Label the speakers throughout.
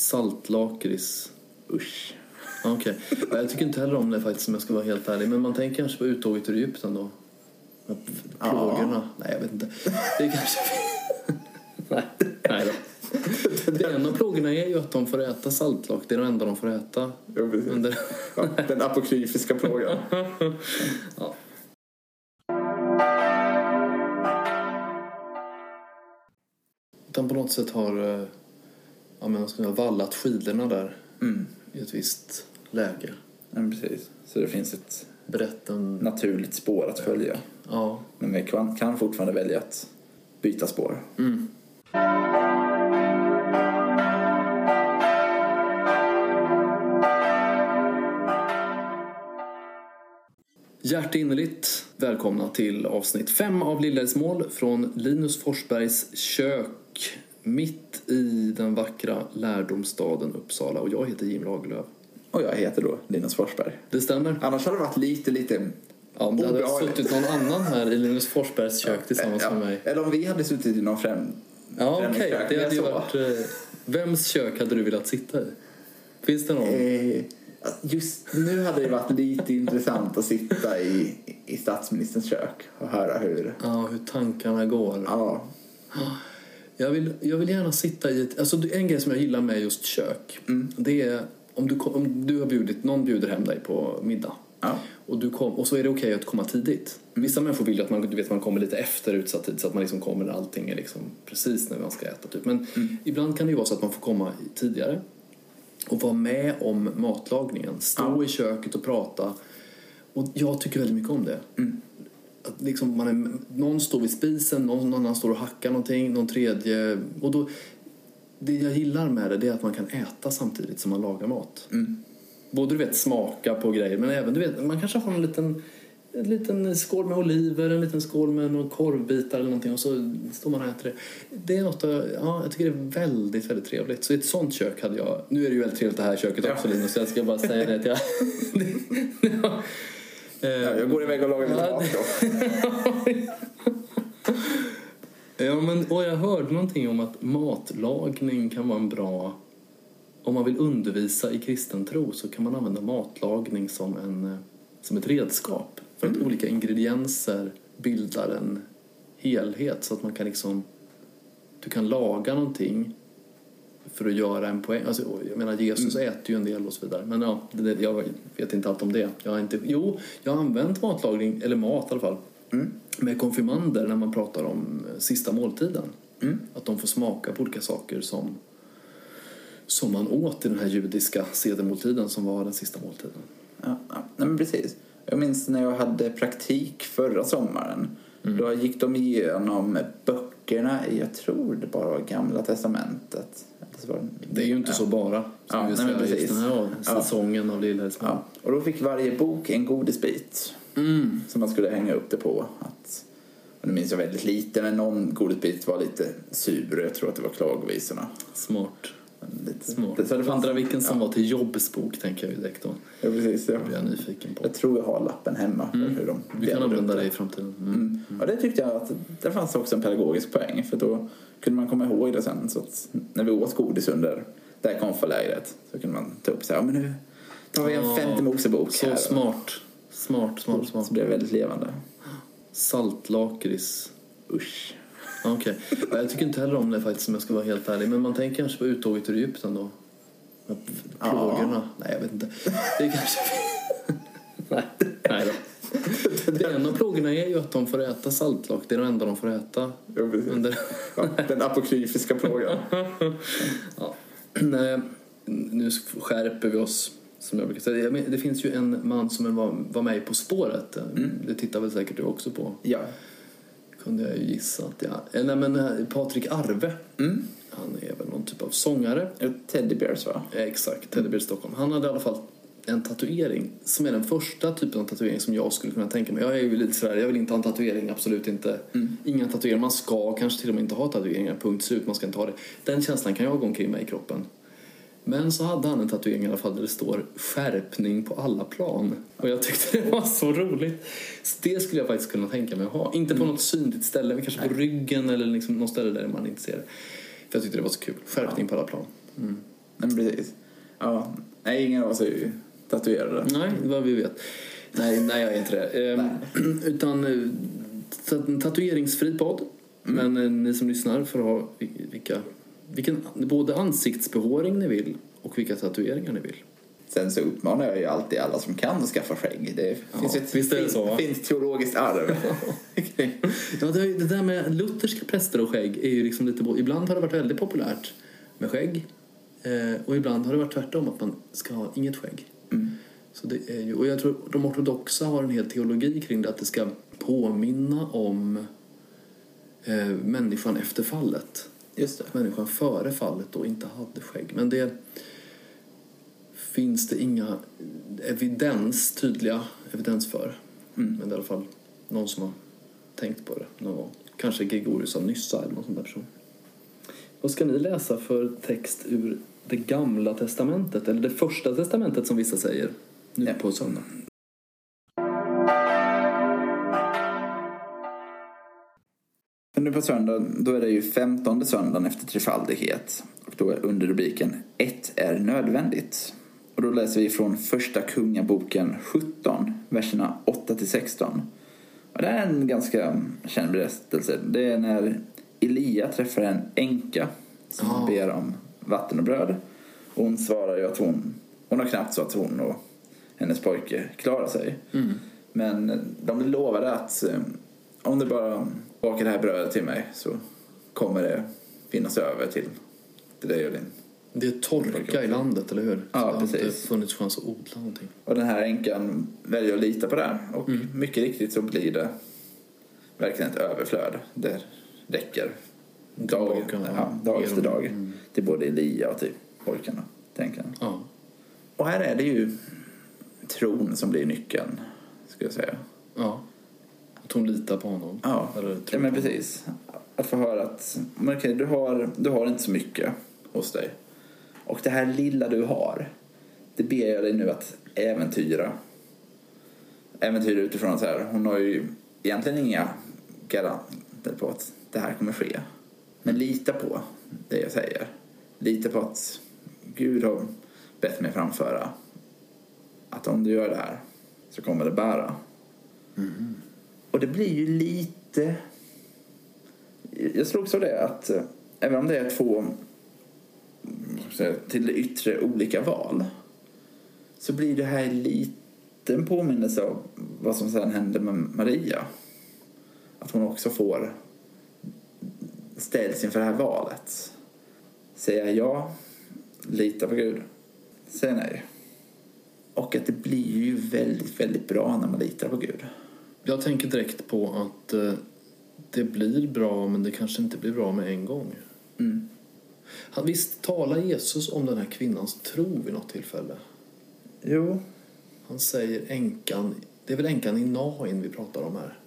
Speaker 1: Saltlakrits. Usch. Ja, Okej. Ja, Jag tycker inte heller om det faktiskt om jag ska vara helt ärlig. Men man tänker kanske på uttåget ur Egypten då. Med Plågorna. Nej, jag vet inte. Det är kanske... Nej. Nej då. Det enda av plågorna är ju att de får äta saltlak. Det är det enda de får äta.
Speaker 2: Ja, precis.
Speaker 1: Under...
Speaker 2: Ja, den apokryfiska plågan.
Speaker 1: Ja. Utan på något sätt har eh, ja, men, vad ska jag säga, vallat skidorna där
Speaker 2: Mm.
Speaker 1: i ett visst läge.
Speaker 2: Ja, precis. Så det finns ett
Speaker 1: Berätta en...
Speaker 2: naturligt spår att följa.
Speaker 1: Ja.
Speaker 2: Men vi kan, kan fortfarande välja att byta spår.
Speaker 1: Mm. Hjärtinnerligt välkomna till avsnitt 5 av Lillhäls mål från Linus Forsbergs kök mitt i den vackra lärdomsstaden Uppsala och jag heter Jim Lagerlöf.
Speaker 2: Och jag heter då Linus Forsberg.
Speaker 1: Det stämmer.
Speaker 2: Annars hade det varit lite, eh, lite
Speaker 1: Ja, om det hade
Speaker 2: obehagligt.
Speaker 1: suttit någon annan här i Linus Forsbergs kök tillsammans
Speaker 2: Oh, Ja,
Speaker 1: med mig.
Speaker 2: Eller om vi hade suttit i någon främ...
Speaker 1: Ja, okej.
Speaker 2: främlingskök,
Speaker 1: Det
Speaker 2: men
Speaker 1: hade ju
Speaker 2: så-
Speaker 1: varit... eh, Vems kök hade du velat sitta i? Finns det någon?
Speaker 2: Eh, Just nu hade det varit lite intressant att sitta i, i statsministerns kök och höra hur...
Speaker 1: Ja, hur tankarna går.
Speaker 2: Ja,
Speaker 1: Jag vill, jag vill gärna sitta i ett... Alltså det- en grej som jag gillar med just kök, det är om du, kom- om du har bjudit, någon bjuder hem dig på middag.
Speaker 2: ja,
Speaker 1: Och, du kom, och så är det okej att komma tidigt. Vissa människor vill ju att man, du vet, man kommer lite efter utsatt tid så att man liksom kommer när allting är liksom precis när man ska äta. Typ. Men ibland kan det ju vara så att man får komma i- tidigare och vara med om matlagningen. Stå i köket och prata. Och jag tycker väldigt mycket om det. Att liksom man är, någon står vid spisen, någon, någon annan står och hackar någonting, någon tredje. Och då, det jag gillar med det, det är att man kan äta samtidigt som man lagar mat. Både du vet smaka på grejer men även du vet man kanske har en liten en liten skål med oliver, en liten skål med någon korvbitar eller någonting och så står man och äter det. Det är något jag- ja, jag tycker det är väldigt, väldigt trevligt. Så i ett sånt kök hade jag, nu är det ju väldigt trevligt det här köket också Linus, jag ska bara säga det att jag...
Speaker 2: Ja, jag går iväg och lagar lite
Speaker 1: Ja,
Speaker 2: mat då.
Speaker 1: Ja, men, och jag hörde någonting om att matlagning kan vara en bra... Om man vill undervisa i kristen tro så kan man använda matlagning som, en, eh, som ett redskap. För att olika ingredienser bildar en helhet så att man kan liksom... Du kan laga någonting för att göra en poäng. Alltså, jag menar, Jesus
Speaker 2: Mm.
Speaker 1: äter ju en del och så vidare. Men ja, det, det- jag vet inte allt om det. Jag har inte, jo, jag har använt matlagning, eller mat i alla fall,
Speaker 2: Mm.
Speaker 1: med konfirmander när man pratar om eh, sista måltiden.
Speaker 2: Mm.
Speaker 1: Att de får smaka på olika saker som, som man åt i den här judiska sedemåltiden som var den sista måltiden.
Speaker 2: Ja, ja. Nej, men precis. Jag minns när jag hade praktik förra sommaren.
Speaker 1: Mm.
Speaker 2: Då gick de igenom böckerna i, jag tror det bara var Gamla Testamentet. Eller så var det-
Speaker 1: Det är ju inte
Speaker 2: ja.
Speaker 1: så bara, som
Speaker 2: Ja,
Speaker 1: vi
Speaker 2: nej,
Speaker 1: ska
Speaker 2: men
Speaker 1: just
Speaker 2: precis.
Speaker 1: den här
Speaker 2: Ja.
Speaker 1: säsongen av Lilla Älvsborg.
Speaker 2: Ja. Och då fick varje bok en godisbit
Speaker 1: Mm.
Speaker 2: som man skulle hänga upp det på. Att, och nu minns jag väldigt lite, men någon godisbit var lite sur. Jag tror att det var klagovisorna.
Speaker 1: Smart.
Speaker 2: Lite,
Speaker 1: Smart.
Speaker 2: så det fanns,
Speaker 1: Undrar vilken som var till jobbsbok, tänker jag ju direkt då.
Speaker 2: ja, precis, ja.
Speaker 1: Det blir jag nyfiken på.
Speaker 2: Jag tror jag har lappen hemma. för Hur de
Speaker 1: Mm. Vi
Speaker 2: delar
Speaker 1: kan
Speaker 2: upp
Speaker 1: använda
Speaker 2: det.
Speaker 1: det i framtiden. Mm.
Speaker 2: Mm. Och det tyckte jag att det fanns också en pedagogisk poäng för då kunde man komma ihåg det sen så att när vi åt godis under det här konfalägret så kunde man ta upp så här, "Ja, men nu tar vi en
Speaker 1: Ja,
Speaker 2: femte Mosebok
Speaker 1: Så
Speaker 2: här."
Speaker 1: smart. Smart, smart, smart.
Speaker 2: Så blev det väldigt levande.
Speaker 1: Saltlakrits.
Speaker 2: Usch.
Speaker 1: Ja, Okej. Ja, Jag tycker inte heller om det faktiskt om jag ska vara helt ärlig. Men man tänker kanske på uttåget ur Egypten då. Med Plågorna. Nej, jag vet inte. Det är kanske... Nej. Nej då. Det enda av plågorna är ju att de får äta saltlak. Det är det enda de får äta.
Speaker 2: Ja, precis.
Speaker 1: Under...
Speaker 2: Ja, Den apokryfiska plågan.
Speaker 1: Ja. Nej, nu skärper vi oss. Som jag brukar säga. Jag men- Det finns ju en man som var, var med i På spåret. Det tittar väl säkert du också på.
Speaker 2: Ja.
Speaker 1: kunde jag ju gissa att jag... eh, Nej, men eh, Patrik Arve.
Speaker 2: Mm.
Speaker 1: Han är väl någon typ av sångare.
Speaker 2: Teddy Bears va?
Speaker 1: Eh, Exakt, Teddy Bear Stockholm. Han hade i alla fall en tatuering som är den första typen av tatuering som jag skulle kunna tänka mig. Jag är ju lite sådär, jag vill inte ha en tatuering, absolut inte. Inga tatueringar, man ska kanske till och med inte ha tatueringar, punkt slut, man ska inte ha det. Den känslan kan jag gå omkring med i kroppen. Men så hade han en tatuering i alla fall där det står skärpning på alla plan. Och jag tyckte det var så roligt. Så det skulle jag faktiskt kunna tänka mig att ha. Inte på något synligt ställe, men kanske på ryggen eller liksom något ställe där man inte ser det. För jag tyckte det var så kul. Skärpning på alla plan.
Speaker 2: men precis. Ja, nej, ingen av oss är ju tatuerade.
Speaker 1: Nej, vad vi vet. Nej, nej jag är inte det. Ehm, utan eh, ta- en tatueringsfri podd. Men eh, ni som lyssnar får ha vil- vilka, vilken, både ansiktsbehåring ni vill och vilka tatueringar ni vill.
Speaker 2: Sen så uppmanar jag ju alltid alla som kan att skaffa skägg. Det finns ju ett
Speaker 1: visst är det
Speaker 2: fint,
Speaker 1: så, va?
Speaker 2: fint teologiskt arv. Okej.
Speaker 1: Ja, det, det där med lutherska präster och skägg är ju liksom lite... bo- Ibland har det varit väldigt populärt med skägg. Eh, och ibland har det varit tvärtom, att man ska ha inget skägg.
Speaker 2: Mm.
Speaker 1: Så det är ju, och jag tror de ortodoxa har en hel teologi kring det, att det ska påminna om eh, människan efter fallet.
Speaker 2: Just det.
Speaker 1: Att människan före fallet då inte hade skägg. Men det finns det inga evidens, tydliga evidens för. Men det är i alla fall någon som har tänkt på det någon gång. Kanske Gregorius av Nyssa eller någon sån där person. Vad ska ni läsa för text ur det gamla testamentet? Eller det första testamentet som vissa säger nu
Speaker 2: Ja.
Speaker 1: på söndag.
Speaker 2: Men nu på söndag, då är det ju femtonde söndagen efter trefaldighet. Och då är under rubriken Ett är nödvändigt. Och då läser vi från första kungaboken 17, verserna 8 till 16. Och det här är en ganska känd berättelse. Det är när Elia träffar en änka som
Speaker 1: Ja.
Speaker 2: ber om vatten och bröd. Och hon svarar ju att hon, hon har knappt så att hon och hennes pojke klarar sig. Men de lovade att eh, om du bara bakar det här brödet till mig så kommer det finnas över till, till dig och din.
Speaker 1: Det är torka i landet, eller hur? Så
Speaker 2: Ja,
Speaker 1: det har inte
Speaker 2: precis.
Speaker 1: funnits chans att odla någonting.
Speaker 2: Och den här änkan väljer att lita på det här. Och mycket riktigt så blir det verkligen ett överflöd. Det räcker dag,
Speaker 1: Tillbaka,
Speaker 2: ja, dag
Speaker 1: ja.
Speaker 2: efter dag till både Elia och till pojkarna. Tänker jag.
Speaker 1: Ja.
Speaker 2: Och här är det ju tron som blir nyckeln, skulle jag säga.
Speaker 1: ja. Att hon litar på honom.
Speaker 2: Ja,
Speaker 1: Eller
Speaker 2: ja
Speaker 1: tror
Speaker 2: men
Speaker 1: på honom.
Speaker 2: precis. Att få höra att men okej, du, har, du har inte så mycket hos dig. Och det här lilla du har, det ber jag dig nu att äventyra. Äventyra utifrån att så här, hon har ju egentligen inga garanter på att det här kommer ske. Men lita på det jag säger. Lita på att Gud har bett mig framföra att om du gör det här så kommer det bära. Och det blir ju lite... Jag slogs av det att eh, även om det är två vad ska jag säga, till det yttre olika val så blir det här lite en påminnelse av vad som sen hände med Maria. Att hon också får ställs inför det här valet. Säga ja, lita på Gud, säga nej. Och att det blir ju väldigt, väldigt bra när man litar på Gud.
Speaker 1: Jag tänker direkt på att eh, det blir bra, men det kanske inte blir bra med en gång.
Speaker 2: Mm.
Speaker 1: Han, visst talar Jesus om den här kvinnans tro vid något tillfälle?
Speaker 2: Jo,
Speaker 1: Han säger änkan, det är väl änkan i Nain vi pratar om här.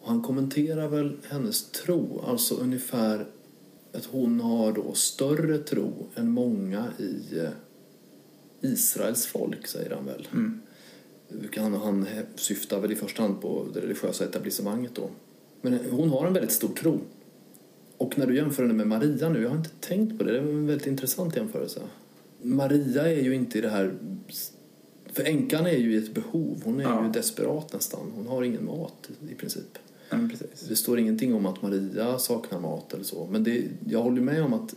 Speaker 1: Och han kommenterar väl hennes tro, alltså ungefär att hon har då större tro än många i eh, Israels folk, säger han väl. Han, han syftar väl i första hand på det religiösa etablissemanget då. Men hon har en väldigt stor tro. Och när du jämför henne med Maria nu, jag har inte tänkt på det, det är en väldigt intressant jämförelse. Maria är ju inte i det här... För änkan är ju i ett behov, hon är
Speaker 2: Ja.
Speaker 1: ju desperat nästan. Hon har ingen mat i princip.
Speaker 2: ja, men precis.
Speaker 1: Det står ingenting om att Maria saknar mat eller så. Men det, jag håller med om att,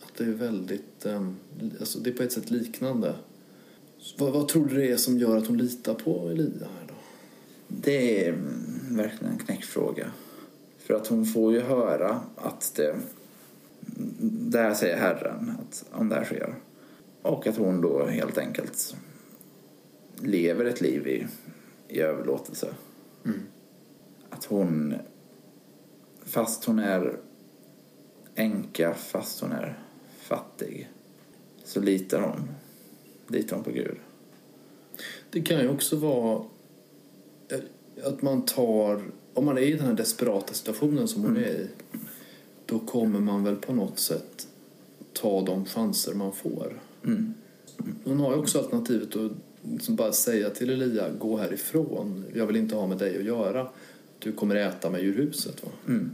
Speaker 1: att det är väldigt... ehm, li- alltså det är på ett sätt liknande. Så Vad, vad tror du det är som gör att hon litar på Elia här då?
Speaker 2: Det är mm, verkligen en knäckfråga. För att hon får ju höra att det... Det här säger Herren, att om det här sker. Och att hon då helt enkelt lever ett liv i, i överlåtelse. Att hon... Fast hon är änka, fast hon är fattig, så litar hon. Litar hon på Gud.
Speaker 1: Det kan ju också vara eh, att man tar... Om man är i den här desperata situationen som hon är i då kommer man väl på något sätt ta de chanser man får.
Speaker 2: Mm.
Speaker 1: Hon har ju också alternativet att liksom bara säga till Elia, gå härifrån. Jag vill inte ha med dig att göra. Du kommer äta mig ur huset. Va?
Speaker 2: Mm.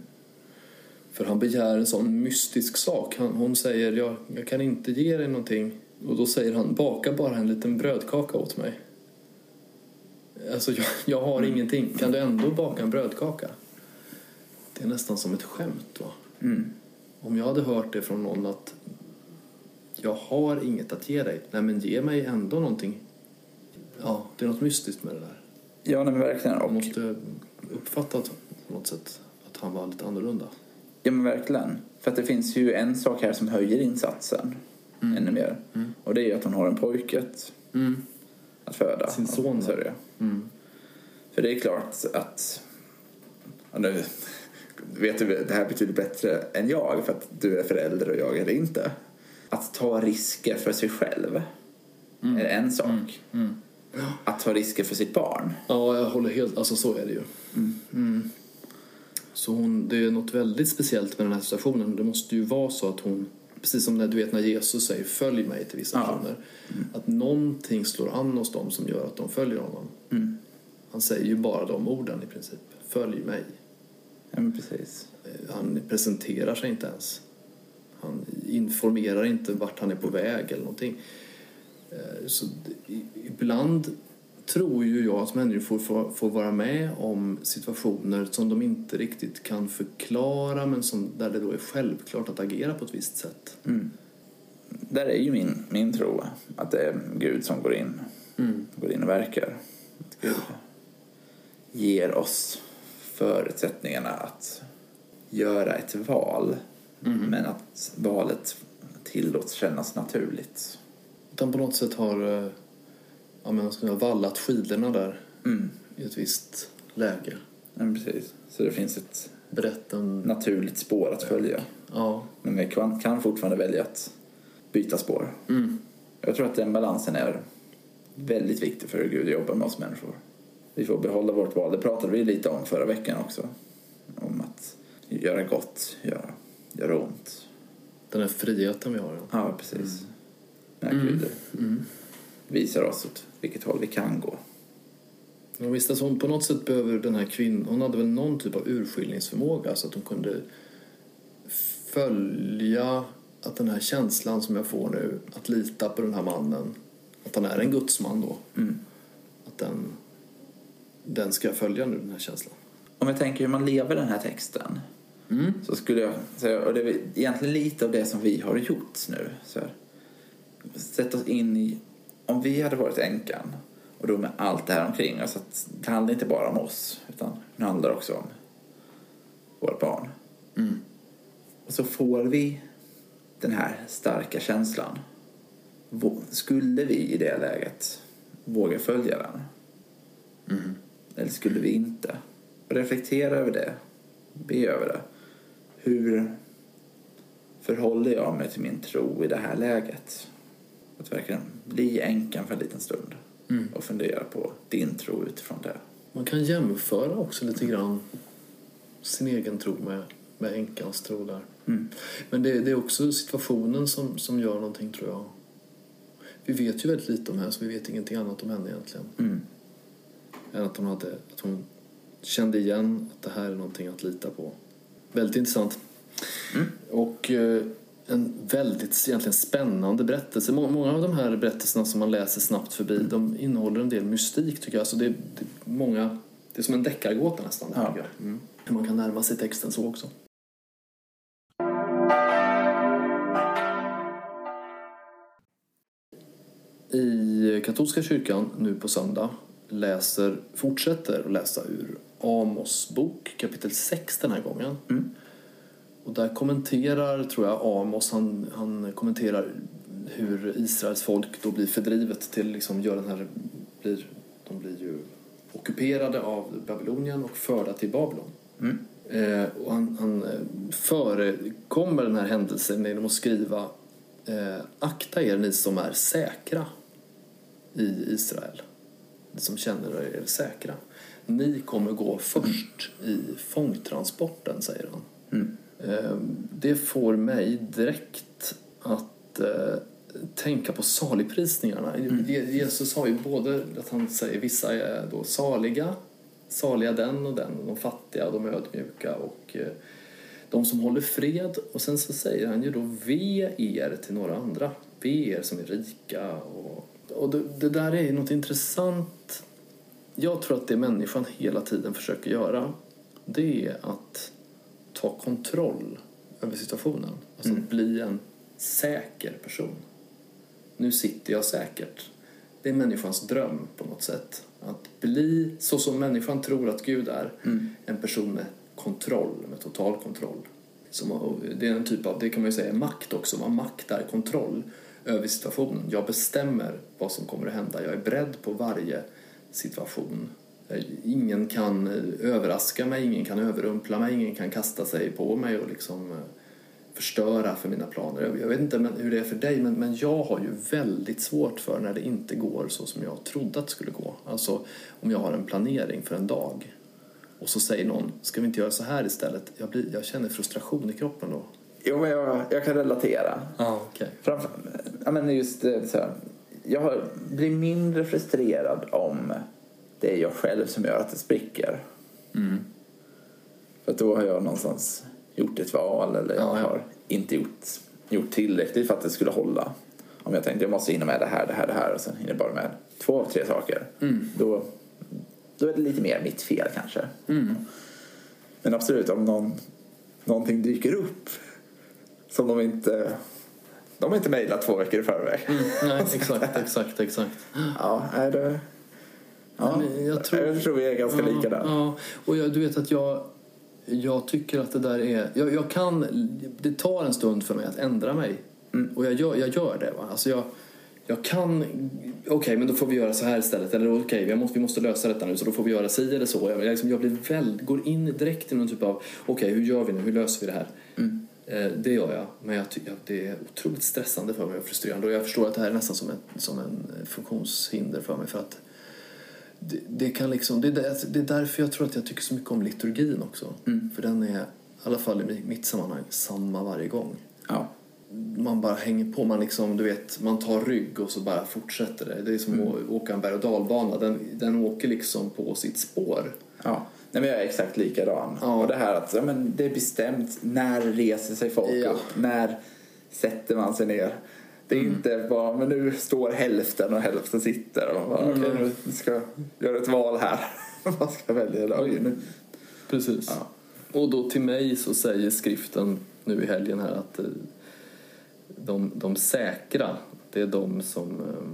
Speaker 1: För han begär en sån mystisk sak. Han, hon säger, jag, jag kan inte ge dig någonting. Och då säger han, baka bara en liten brödkaka åt mig. Alltså, jag, jag har ingenting. Kan du ändå baka en brödkaka? Det är nästan som ett skämt, va?
Speaker 2: Mm.
Speaker 1: Om jag hade hört det från någon att jag har inget att ge dig, nej men ge mig ändå någonting. Ja, det är något mystiskt med det där.
Speaker 2: Ja, nej, men verkligen.
Speaker 1: Man
Speaker 2: Och,
Speaker 1: måste uppfatta att- på något sätt att han var lite annorlunda.
Speaker 2: ja, men verkligen. För att det finns ju en sak här som höjer insatsen ännu mer. Och det är ju att hon har en pojke att- att föda.
Speaker 1: Sin
Speaker 2: och
Speaker 1: son, va?
Speaker 2: sörja. Mm. För det är klart att... Ja, nu vet du det här betyder bättre än jag för att du är förälder och jag är det inte. Att ta risker för sig själv är en sak. Mm. Att ta risker för sitt barn.
Speaker 1: Ja, jag håller helt... Alltså så är det ju. Mm. Så hon, det är något väldigt speciellt med den här situationen. Det måste ju vara så att hon, precis som när, du vet, när Jesus säger följ mig till vissa
Speaker 2: Ja.
Speaker 1: personer. Att någonting slår an hos dem som gör att de följer honom. Han säger ju bara de orden i princip. Följ mig.
Speaker 2: Ja, men precis.
Speaker 1: Eh, Han presenterar sig inte ens. Han informerar inte vart han är på väg eller någonting. Eh, Så d- i- ibland tror ju jag att människor får, får vara med om situationer som de inte riktigt kan förklara men som, där det då är självklart att agera på ett visst sätt.
Speaker 2: Där är ju min, min tro att det är Gud som går in, går in och verkar. Att Mm. Gud ger oss förutsättningarna att göra ett val men att valet tillåts kännas naturligt.
Speaker 1: Utan på något sätt har eh, ja, men, vad ska jag säga, vallat skidorna där
Speaker 2: Mm.
Speaker 1: i ett visst läge.
Speaker 2: Ja, precis. Så det finns ett
Speaker 1: Berätt en...
Speaker 2: naturligt spår att följa.
Speaker 1: Ja.
Speaker 2: Men vi kan, kan fortfarande välja att byta spår.
Speaker 1: mm,
Speaker 2: Jag tror att den balansen är väldigt viktig för hur Gud jobbar med oss människor. Vi får behålla vårt val. Det pratade vi lite om förra veckan också. Om att göra gott, göra, göra ont.
Speaker 1: Den här friheten vi har. Ja.
Speaker 2: Ja, precis. När Gud visar oss åt vilket håll vi kan gå.
Speaker 1: Ja, visst, alltså hon på något sätt behöver den här kvinnan, hon hade väl någon typ av urskiljningsförmåga så att hon kunde följa att den här känslan som jag får nu, att lita på den här mannen, att han är en gudsman då, att den, den ska jag följa nu, den här känslan.
Speaker 2: Om jag tänker hur man lever den här texten
Speaker 1: Mm.
Speaker 2: så skulle jag säga, och det är väl egentligen lite av det som vi har gjort nu. Så här. Sätt oss in i, om vi hade varit änkan och då med allt det här omkring oss, att det handlar inte bara om oss utan det handlar också om vårt barn. Och så får vi den här starka känslan. Vå- Skulle vi i det läget våga följa den? Eller skulle vi inte? Reflektera över det. Be över det. Hur förhåller jag mig till min tro i det här läget? Att verkligen bli änkan för en liten stund och fundera på din tro utifrån det.
Speaker 1: Man kan jämföra också lite grann sin egen tro med, med änkans tro där. Men det, det är också situationen som, som gör någonting tror jag. Vi vet ju väldigt lite om henne så vi vet ingenting annat om henne egentligen. Än att hon, hade, att hon kände igen att det här är någonting att lita på. Väldigt intressant. Och eh, en väldigt egentligen spännande berättelse. Må- Många av de här berättelserna som man läser snabbt förbi de innehåller en del mystik tycker jag. Alltså det, det, många, det är som en deckargåta nästan. det här,
Speaker 2: Ja.
Speaker 1: tycker jag. Mm. Hur man kan närma sig texten så också. i katolska kyrkan nu på söndag läser, fortsätter att läsa ur Amos bok, kapitel 6 den här gången. Och där kommenterar, tror jag, Amos, han, han kommenterar hur Israels folk då blir fördrivet till, liksom, gör den här, blir, de blir ju ockuperade av Babylonien och förda till Babylon. Eh, och han, han eh, förekommer den här händelsen genom att skriva eh, Akta er ni som är säkra i Israel, ni som känner er säkra. Ni kommer gå först i fångtransporten, säger han. Eh, Det får mig direkt att eh, tänka på saligprisningarna. Je- Jesus har ju både att han säger vissa är då saliga, saliga den och den, de fattiga, de ödmjuka och eh, De som håller fred och sen så säger han ju då ve er till några andra. Ve er som är rika och, och det, det där är ju något intressant. Jag tror att det människan hela tiden försöker göra det är att ta kontroll över situationen. Alltså att bli en säker person. Nu sitter jag säkert. Det är människans dröm på något sätt. Att bli så som människan tror att Gud är. En person med kontroll, med total kontroll. Som, och det är en typ av, det kan man ju säga är makt också. Man maktar kontroll över situationen. Jag bestämmer vad som kommer att hända. Jag är beredd på varje situation. Ingen kan eh, överraska mig, ingen kan överrumpla mig, ingen kan kasta sig på mig och liksom eh, förstöra för mina planer. Jag- Jag vet inte men, hur det är för dig, men, men jag har ju väldigt svårt för när det inte går så som jag trodde att det skulle gå. Alltså om jag har en planering för en dag och så säger någon, ska vi inte göra så här istället? Jag, blir, jag känner frustration i kroppen då.
Speaker 2: Jo, men jag, jag kan relatera.
Speaker 1: Ja, okej.
Speaker 2: Framför, ja, men just det, så här, jag har, blir mindre frustrerad om det är jag själv som gör att det spricker.
Speaker 1: Mm.
Speaker 2: För att då har jag någonstans gjort ett val eller jag
Speaker 1: Ja, ja.
Speaker 2: har inte gjort, gjort tillräckligt för att det skulle hålla. Om jag tänkte jag måste hinna med det här, det här, det här och sen hinner jag bara med två av tre saker.
Speaker 1: Mm.
Speaker 2: Då, då är det lite mer mitt fel kanske.
Speaker 1: Mm.
Speaker 2: Men absolut, om någon, någonting dyker upp som de inte... De har inte mejlat två veckor i förväg.
Speaker 1: Nej, exakt, exakt, exakt.
Speaker 2: Ja, är det... Ja,
Speaker 1: Nej, men jag tror-
Speaker 2: jag tror vi är ganska
Speaker 1: ja,
Speaker 2: lika där.
Speaker 1: Ja, och jag, du vet att jag, jag tycker att det där är... Jag, jag kan, det tar en stund för mig att ändra mig.
Speaker 2: Mm.
Speaker 1: Och jag gör, jag gör det. Va? Alltså jag, jag kan... Okej, men då får vi göra så här istället. Eller okej, vi, måste, vi måste lösa detta nu så då får vi göra si eller så. Jag, liksom, jag blir väl, går in direkt i någon typ av... Okej, hur gör vi nu? Hur löser vi det här?
Speaker 2: Mm.
Speaker 1: Eh, Det gör jag, men jag tycker att det är otroligt stressande för mig och frustrerande. Och jag förstår att det här är nästan som en, som en eh, funktionshinder för mig. För att det, det, kan liksom, det, är där, det är därför jag tror att jag tycker så mycket om liturgin också. För den är, i alla fall i mi- mitt sammanhang, samma varje gång.
Speaker 2: Ja.
Speaker 1: Man bara hänger på, man, liksom, du vet, man tar rygg och så bara fortsätter det. Det är som att åka en berg och dalbana, den, den åker liksom på sitt spår.
Speaker 2: Ja. Nej, men jag är exakt likadan.
Speaker 1: Ja.
Speaker 2: Och det här att ja, men det är bestämt när reser sig folk
Speaker 1: Ja.
Speaker 2: upp, när sätter man sig ner. Det är
Speaker 1: Mm.
Speaker 2: inte bara, men nu står hälften och hälften sitter. Och man bara,
Speaker 1: Mm.
Speaker 2: okej, nu ska jag göra ett val här. Vad ska jag välja idag? Oj, nu.
Speaker 1: Precis.
Speaker 2: Ja.
Speaker 1: Och då till mig så säger skriften nu i helgen här att eh, de, de säkra, det är de som eh,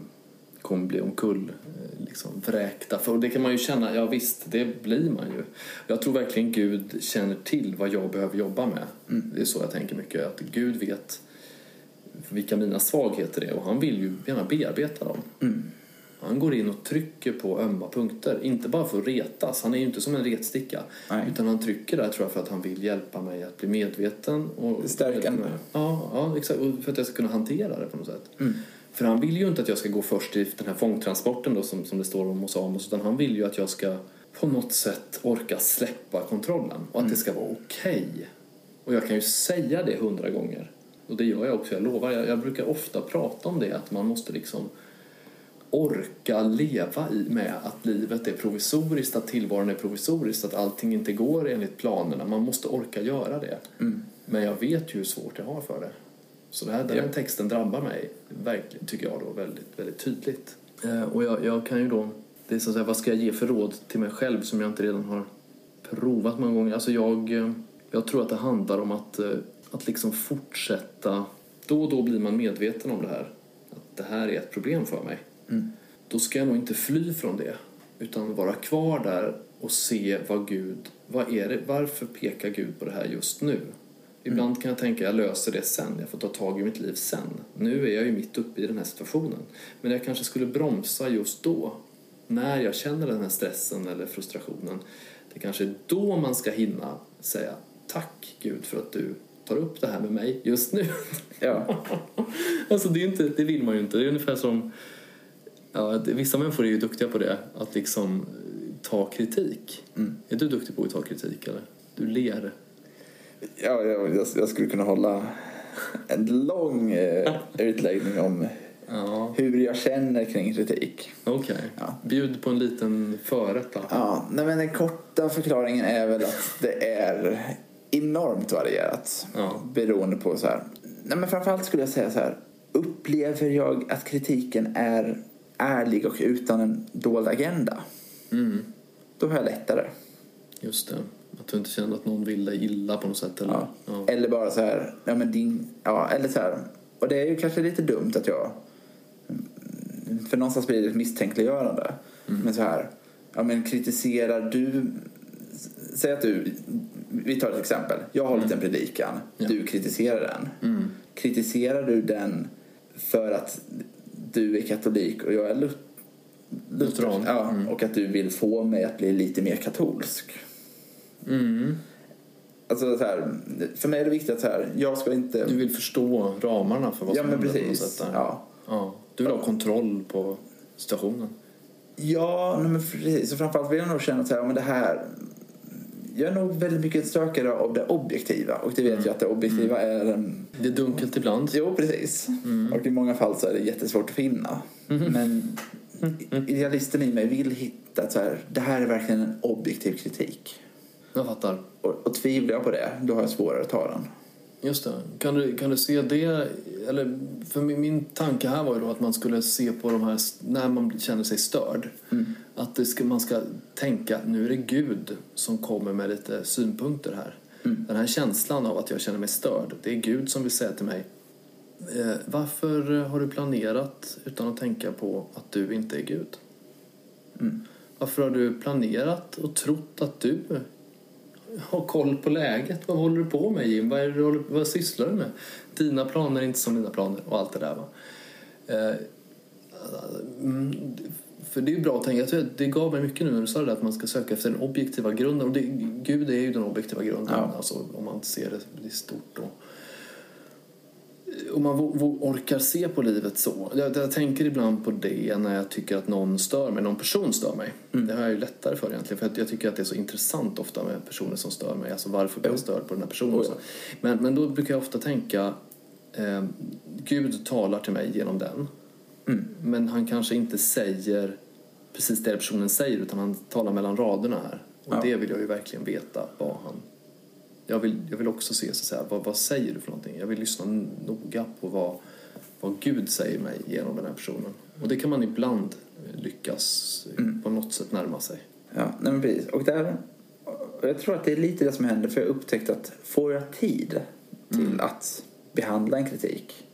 Speaker 1: kommer bli omkull, eh, liksom vräkta. För det kan man ju känna, ja visst, det blir man ju. Jag tror verkligen Gud känner till vad jag behöver jobba med. Det är så jag tänker mycket, att Gud vet vilka mina svagheter är och han vill ju gärna bearbeta dem. Han går in och trycker på ömma punkter, inte bara för att retas, han är ju inte som en retsticka.
Speaker 2: Nej.
Speaker 1: Utan han trycker där tror jag för att han vill hjälpa mig att bli medveten och
Speaker 2: Stärkande.
Speaker 1: Ja, ja exakt. Och för att jag ska kunna hantera det på något sätt. För han vill ju inte att jag ska gå först i den här fångtransporten då som, som det står om hos Amos utan han vill ju att jag ska på något sätt orka släppa kontrollen och att det ska vara okej. Och jag kan ju säga det hundra gånger. Och det gör jag också, jag lovar. Jag, jag brukar ofta prata om det att man måste liksom orka leva i med att livet är provisoriskt, att tillvaron är provisoriskt, att allting inte går enligt planerna. Man måste orka göra det. Men jag vet ju hur svårt jag har för det. Så det här, den här texten drabbar mig, verkligen, tycker jag då, väldigt, väldigt tydligt. Eh, och jag, jag kan ju då, det är så att säga, vad ska jag ge för råd till mig själv som jag inte redan har provat många gånger? Alltså jag, eh, jag tror att det handlar om att, eh, att liksom fortsätta. Då och då blir man medveten om det här, att det här är ett problem för mig då ska jag nog inte fly från det utan vara kvar där och se vad Gud, vad är det, varför pekar Gud på det här just nu? Ibland kan jag tänka jag löser det sen, jag får ta tag i mitt liv sen. Nu är jag ju mitt uppe i den här situationen. Men jag kanske skulle bromsa just då, när jag känner den här stressen eller frustrationen. Det kanske är då man ska hinna säga tack Gud för att du tar upp det här med mig just nu.
Speaker 2: Ja.
Speaker 1: Alltså det, är inte, det vill man ju inte. Det är ungefär som... Ja, det, vissa människor är ju duktiga på det, att liksom eh, ta kritik.
Speaker 2: Mm.
Speaker 1: Är du duktig på att ta kritik eller? Du ler.
Speaker 2: Ja, jag, jag, jag skulle kunna hålla en lång eh, utläggning om
Speaker 1: Ja.
Speaker 2: hur jag känner kring kritik.
Speaker 1: Okej.
Speaker 2: Ja.
Speaker 1: Bjud på en liten förrätt då.
Speaker 2: Ja, nej men den korta förklaringen är väl att det är enormt varierat.
Speaker 1: Ja.
Speaker 2: Beroende på så här. Nej, men framförallt skulle jag säga så här. Upplever jag att kritiken är ärlig och utan en dold agenda? Då har jag lättare.
Speaker 1: Just det. Att du inte kände att någon vill dig illa på något sätt. Eller?
Speaker 2: Ja.
Speaker 1: Ja.
Speaker 2: Eller bara så här, ja men din, ja eller så här. Och det är ju kanske lite dumt att jag, mm, för någonstans blir det ett misstänkliggörande.
Speaker 1: Mm.
Speaker 2: Men så här, ja men kritiserar du, s- säg att du, vi tar ett exempel. Jag har hållit en predikan,
Speaker 1: Mm. Ja. Mm.
Speaker 2: du kritiserar den. Kritiserar du den för att du är katolik och jag är lut-
Speaker 1: Lutheran.
Speaker 2: Ja, och att du vill få mig att bli lite mer katolsk.
Speaker 1: Mm.
Speaker 2: Alltså så här, för mig är det viktigt att så här, jag ska inte...
Speaker 1: Du vill förstå ramarna för vad
Speaker 2: ja
Speaker 1: som
Speaker 2: men
Speaker 1: händer på något
Speaker 2: precis.
Speaker 1: sätt. där.
Speaker 2: Ja,
Speaker 1: Ja. Du vill ha kontroll på situationen.
Speaker 2: ja nej, men precis. Och framförallt vill jag nog känna att så här, ja, men det här... Jag är nog väldigt mycket sökare av det objektiva. Och det vet
Speaker 1: Mm.
Speaker 2: jag att det objektiva är... en-
Speaker 1: Det är dunkelt ibland.
Speaker 2: Jo, precis.
Speaker 1: Mm.
Speaker 2: Och i många fall så är det jättesvårt att finna. Men
Speaker 1: Mm.
Speaker 2: idealisten i mig vill hitta att så här, det här är verkligen en objektiv kritik.
Speaker 1: Jag fattar.
Speaker 2: Och, och tvivlar jag på det, då har jag svårare att ta den.
Speaker 1: Just det. Kan du, kan du se det... Eller, för min, min tanke här var ju då att man skulle se på de här... När man känner sig störd. Att det ska, man ska tänka nu är det Gud som kommer med lite synpunkter här. Den här känslan av att jag känner mig störd. Det är Gud som vill säga till mig. Eh, varför har du planerat utan att tänka på att du inte är Gud? Varför har du planerat och trott att du har koll på läget? Vad håller du på med Jim? Vad, är det du håller, vad sysslar du med? Dina planer är inte som dina planer och allt det där va. Eh, mm, för det är ju bra att tänka, Jag tror att det gav mig mycket nu när du sa det där att man ska söka efter den objektiva grunden och det, Gud är ju den objektiva grunden
Speaker 2: Ja.
Speaker 1: alltså, om man ser det i stort då om man vo- vo- orkar se på livet så. Jag, jag tänker ibland på det när jag tycker att någon stör mig, någon person stör mig. Det har jag ju lättare för egentligen, för att jag tycker att det är så intressant ofta med personer som stör mig, alltså varför blir jag störd på den här personen? och så. Men, men då brukar jag ofta tänka, eh, Gud talar till mig genom den. Men han kanske inte säger precis det personen säger, utan han talar mellan raderna här. Och
Speaker 2: Ja.
Speaker 1: det vill jag ju verkligen veta vad han jag vill, jag vill också se så att säga, vad, vad säger du för någonting? Jag vill lyssna noga på vad, vad Gud säger mig genom den här personen. Och det kan man ibland eh, lyckas eh,
Speaker 2: Mm.
Speaker 1: på något sätt närma sig.
Speaker 2: Ja, nej men precis. Och där, och jag tror att det är lite det som händer för jag har upptäckt att får jag tid till att behandla en kritik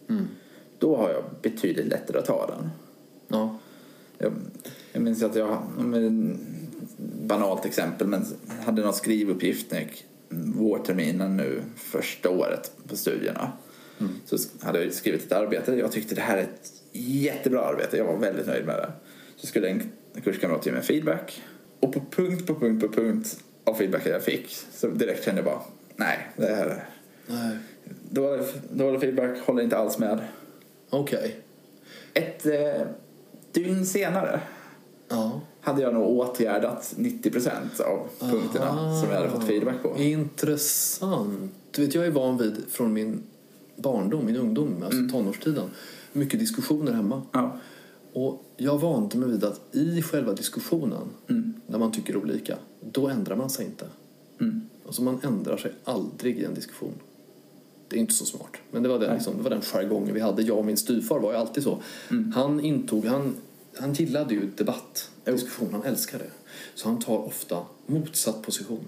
Speaker 2: då har jag betydligt lättare att ta den.
Speaker 1: Ja.
Speaker 2: Jag, jag minns att jag, men, banalt exempel, men hade någon skrivuppgift när jag gick vårterminen nu första året på studierna. Så sk- hade jag skrivit ett arbete. Jag tyckte det här är ett jättebra arbete. Jag var väldigt nöjd med det. Så skulle en kurskamrat ge mig feedback. Och på punkt på punkt på punkt av feedbacken jag fick så direkt kände jag bara nej, det här
Speaker 1: Nej.
Speaker 2: dålig, dålig feedback, håller inte alls med.
Speaker 1: Okej.
Speaker 2: Ett eh, dygn senare
Speaker 1: Ja.
Speaker 2: hade jag nog åtgärdat 90 av punkterna
Speaker 1: Ah.
Speaker 2: som jag hade fått feedback på.
Speaker 1: Intressant. Du vet, jag är van vid från min barndom, min ungdom, alltså
Speaker 2: Mm.
Speaker 1: tonårstiden, mycket diskussioner hemma.
Speaker 2: Ja.
Speaker 1: Och jag vande mig vid att i själva diskussionen, när man tycker olika, då ändrar man sig inte. Alltså man ändrar sig aldrig i en diskussion. Det är inte så smart. Men det var den, liksom, det var den jargongen vi hade. Jag och min styvfar var ju alltid så. Han intog, han, han gillade ju debatt, diskussion, han älskade det. Så han tar ofta motsatt position.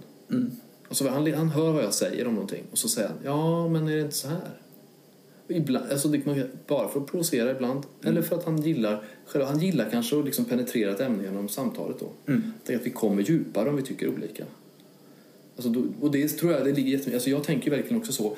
Speaker 1: Alltså han, han hör vad jag säger om någonting och så säger han, ja men är det inte så här? Ibland, alltså det kan man göra bara för att provocera ibland. Eller för att han gillar själva, han gillar kanske att liksom penetrera ett ämne genom samtalet. Då. Tänk att vi kommer djupare om vi tycker olika. Alltså då, och det tror jag det ligger jättemycket. Alltså jag tänker ju verkligen också så.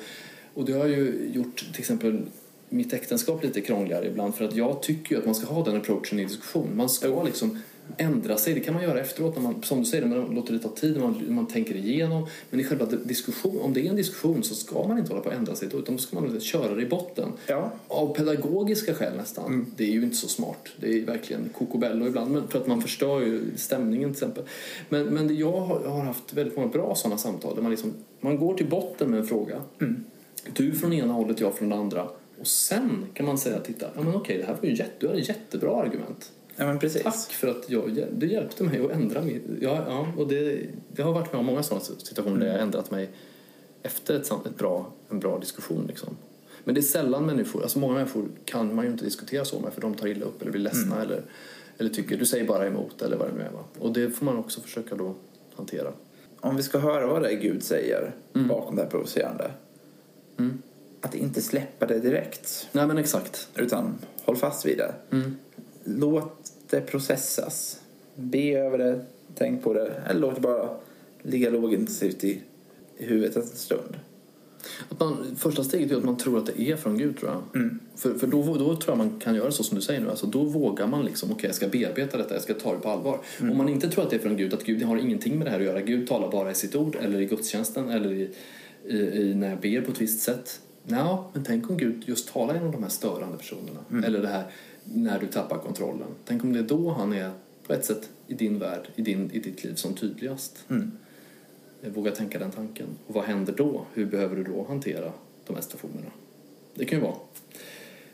Speaker 1: Och det har ju gjort till exempel mitt äktenskap lite krångligare ibland. För att jag tycker ju att man ska ha den approachen i en diskussion. Man ska liksom ändra sig. Det kan man göra efteråt. När man, som du säger, man låter det ta tid. Man, man tänker igenom. Men i själva diskussion, om det är en diskussion så ska man inte hålla på att ändra sig. då, Utan då ska man köra det i botten.
Speaker 2: Ja.
Speaker 1: Av pedagogiska skäl nästan. Det är ju inte så smart. Det är verkligen kokobello ibland. Men för att man förstör ju stämningen till exempel. Men, men det- jag har, jag har haft väldigt många bra sådana samtal där man, liksom, man går till botten med en fråga. Du från ena hållet, jag från det andra. Och sen kan man säga, titta, ja men okej, det här var ju jätte, du hade jättebra argument.
Speaker 2: ja, men precis.
Speaker 1: Tack för att jag, hjäl- du hjälpte mig att ändra mig. Ja, ja, och det, det har varit med om många sådana situationer där jag har ändrat mig efter ett, sam- ett bra, en bra diskussion. Liksom. Men det är sällan människor, alltså många människor kan man ju inte diskutera så med för de tar illa upp eller blir ledsna eller, eller tycker du säger bara emot eller vad det nu är. Va? Och det får man också försöka då hantera.
Speaker 2: Om vi ska höra vad det är Gud säger bakom det här provocerande. Att inte släppa det direkt.
Speaker 1: Nej men exakt.
Speaker 2: Utan håll fast vid det. Låt det processas. Be över det, tänk på det. Eller låt det bara ligga lågintensivt i, i huvudet en stund.
Speaker 1: Att man, första steget är att man tror att det är från Gud tror jag. För, för då, då tror jag man kan göra så som du säger nu. Alltså, då vågar man liksom, okej jag ska bearbeta detta, jag ska ta det på allvar. Om man inte tror att det är från Gud, att Gud har ingenting med det här att göra. Gud talar bara i sitt ord eller i gudstjänsten eller i, i, i när jag ber på ett visst sätt. Nja, men tänk om Gud just talar genom de här störande personerna. Eller det här när du tappar kontrollen. Tänk om det är då han är på ett sätt i din värld, i, din, i ditt liv som tydligast. Våga tänka den tanken. Och vad händer då? Hur behöver du då hantera de här situationerna? Det kan ju vara.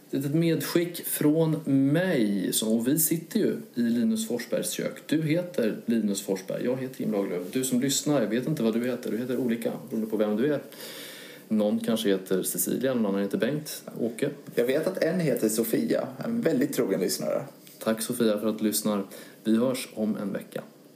Speaker 1: Det är ett medskick från mig. Så- Och vi sitter ju i Linus Forsbergs kök. Du heter Linus Forsberg, jag heter Jim Lagerlöf. Du som lyssnar, jag vet inte vad du heter. Du heter olika beroende på vem du är. Någon kanske heter Cecilia, någon annan heter Bengt, Åke.
Speaker 2: Jag vet att en heter Sofia, en väldigt trogen lyssnare.
Speaker 1: Tack Sofia för att du lyssnar. Vi hörs om en vecka.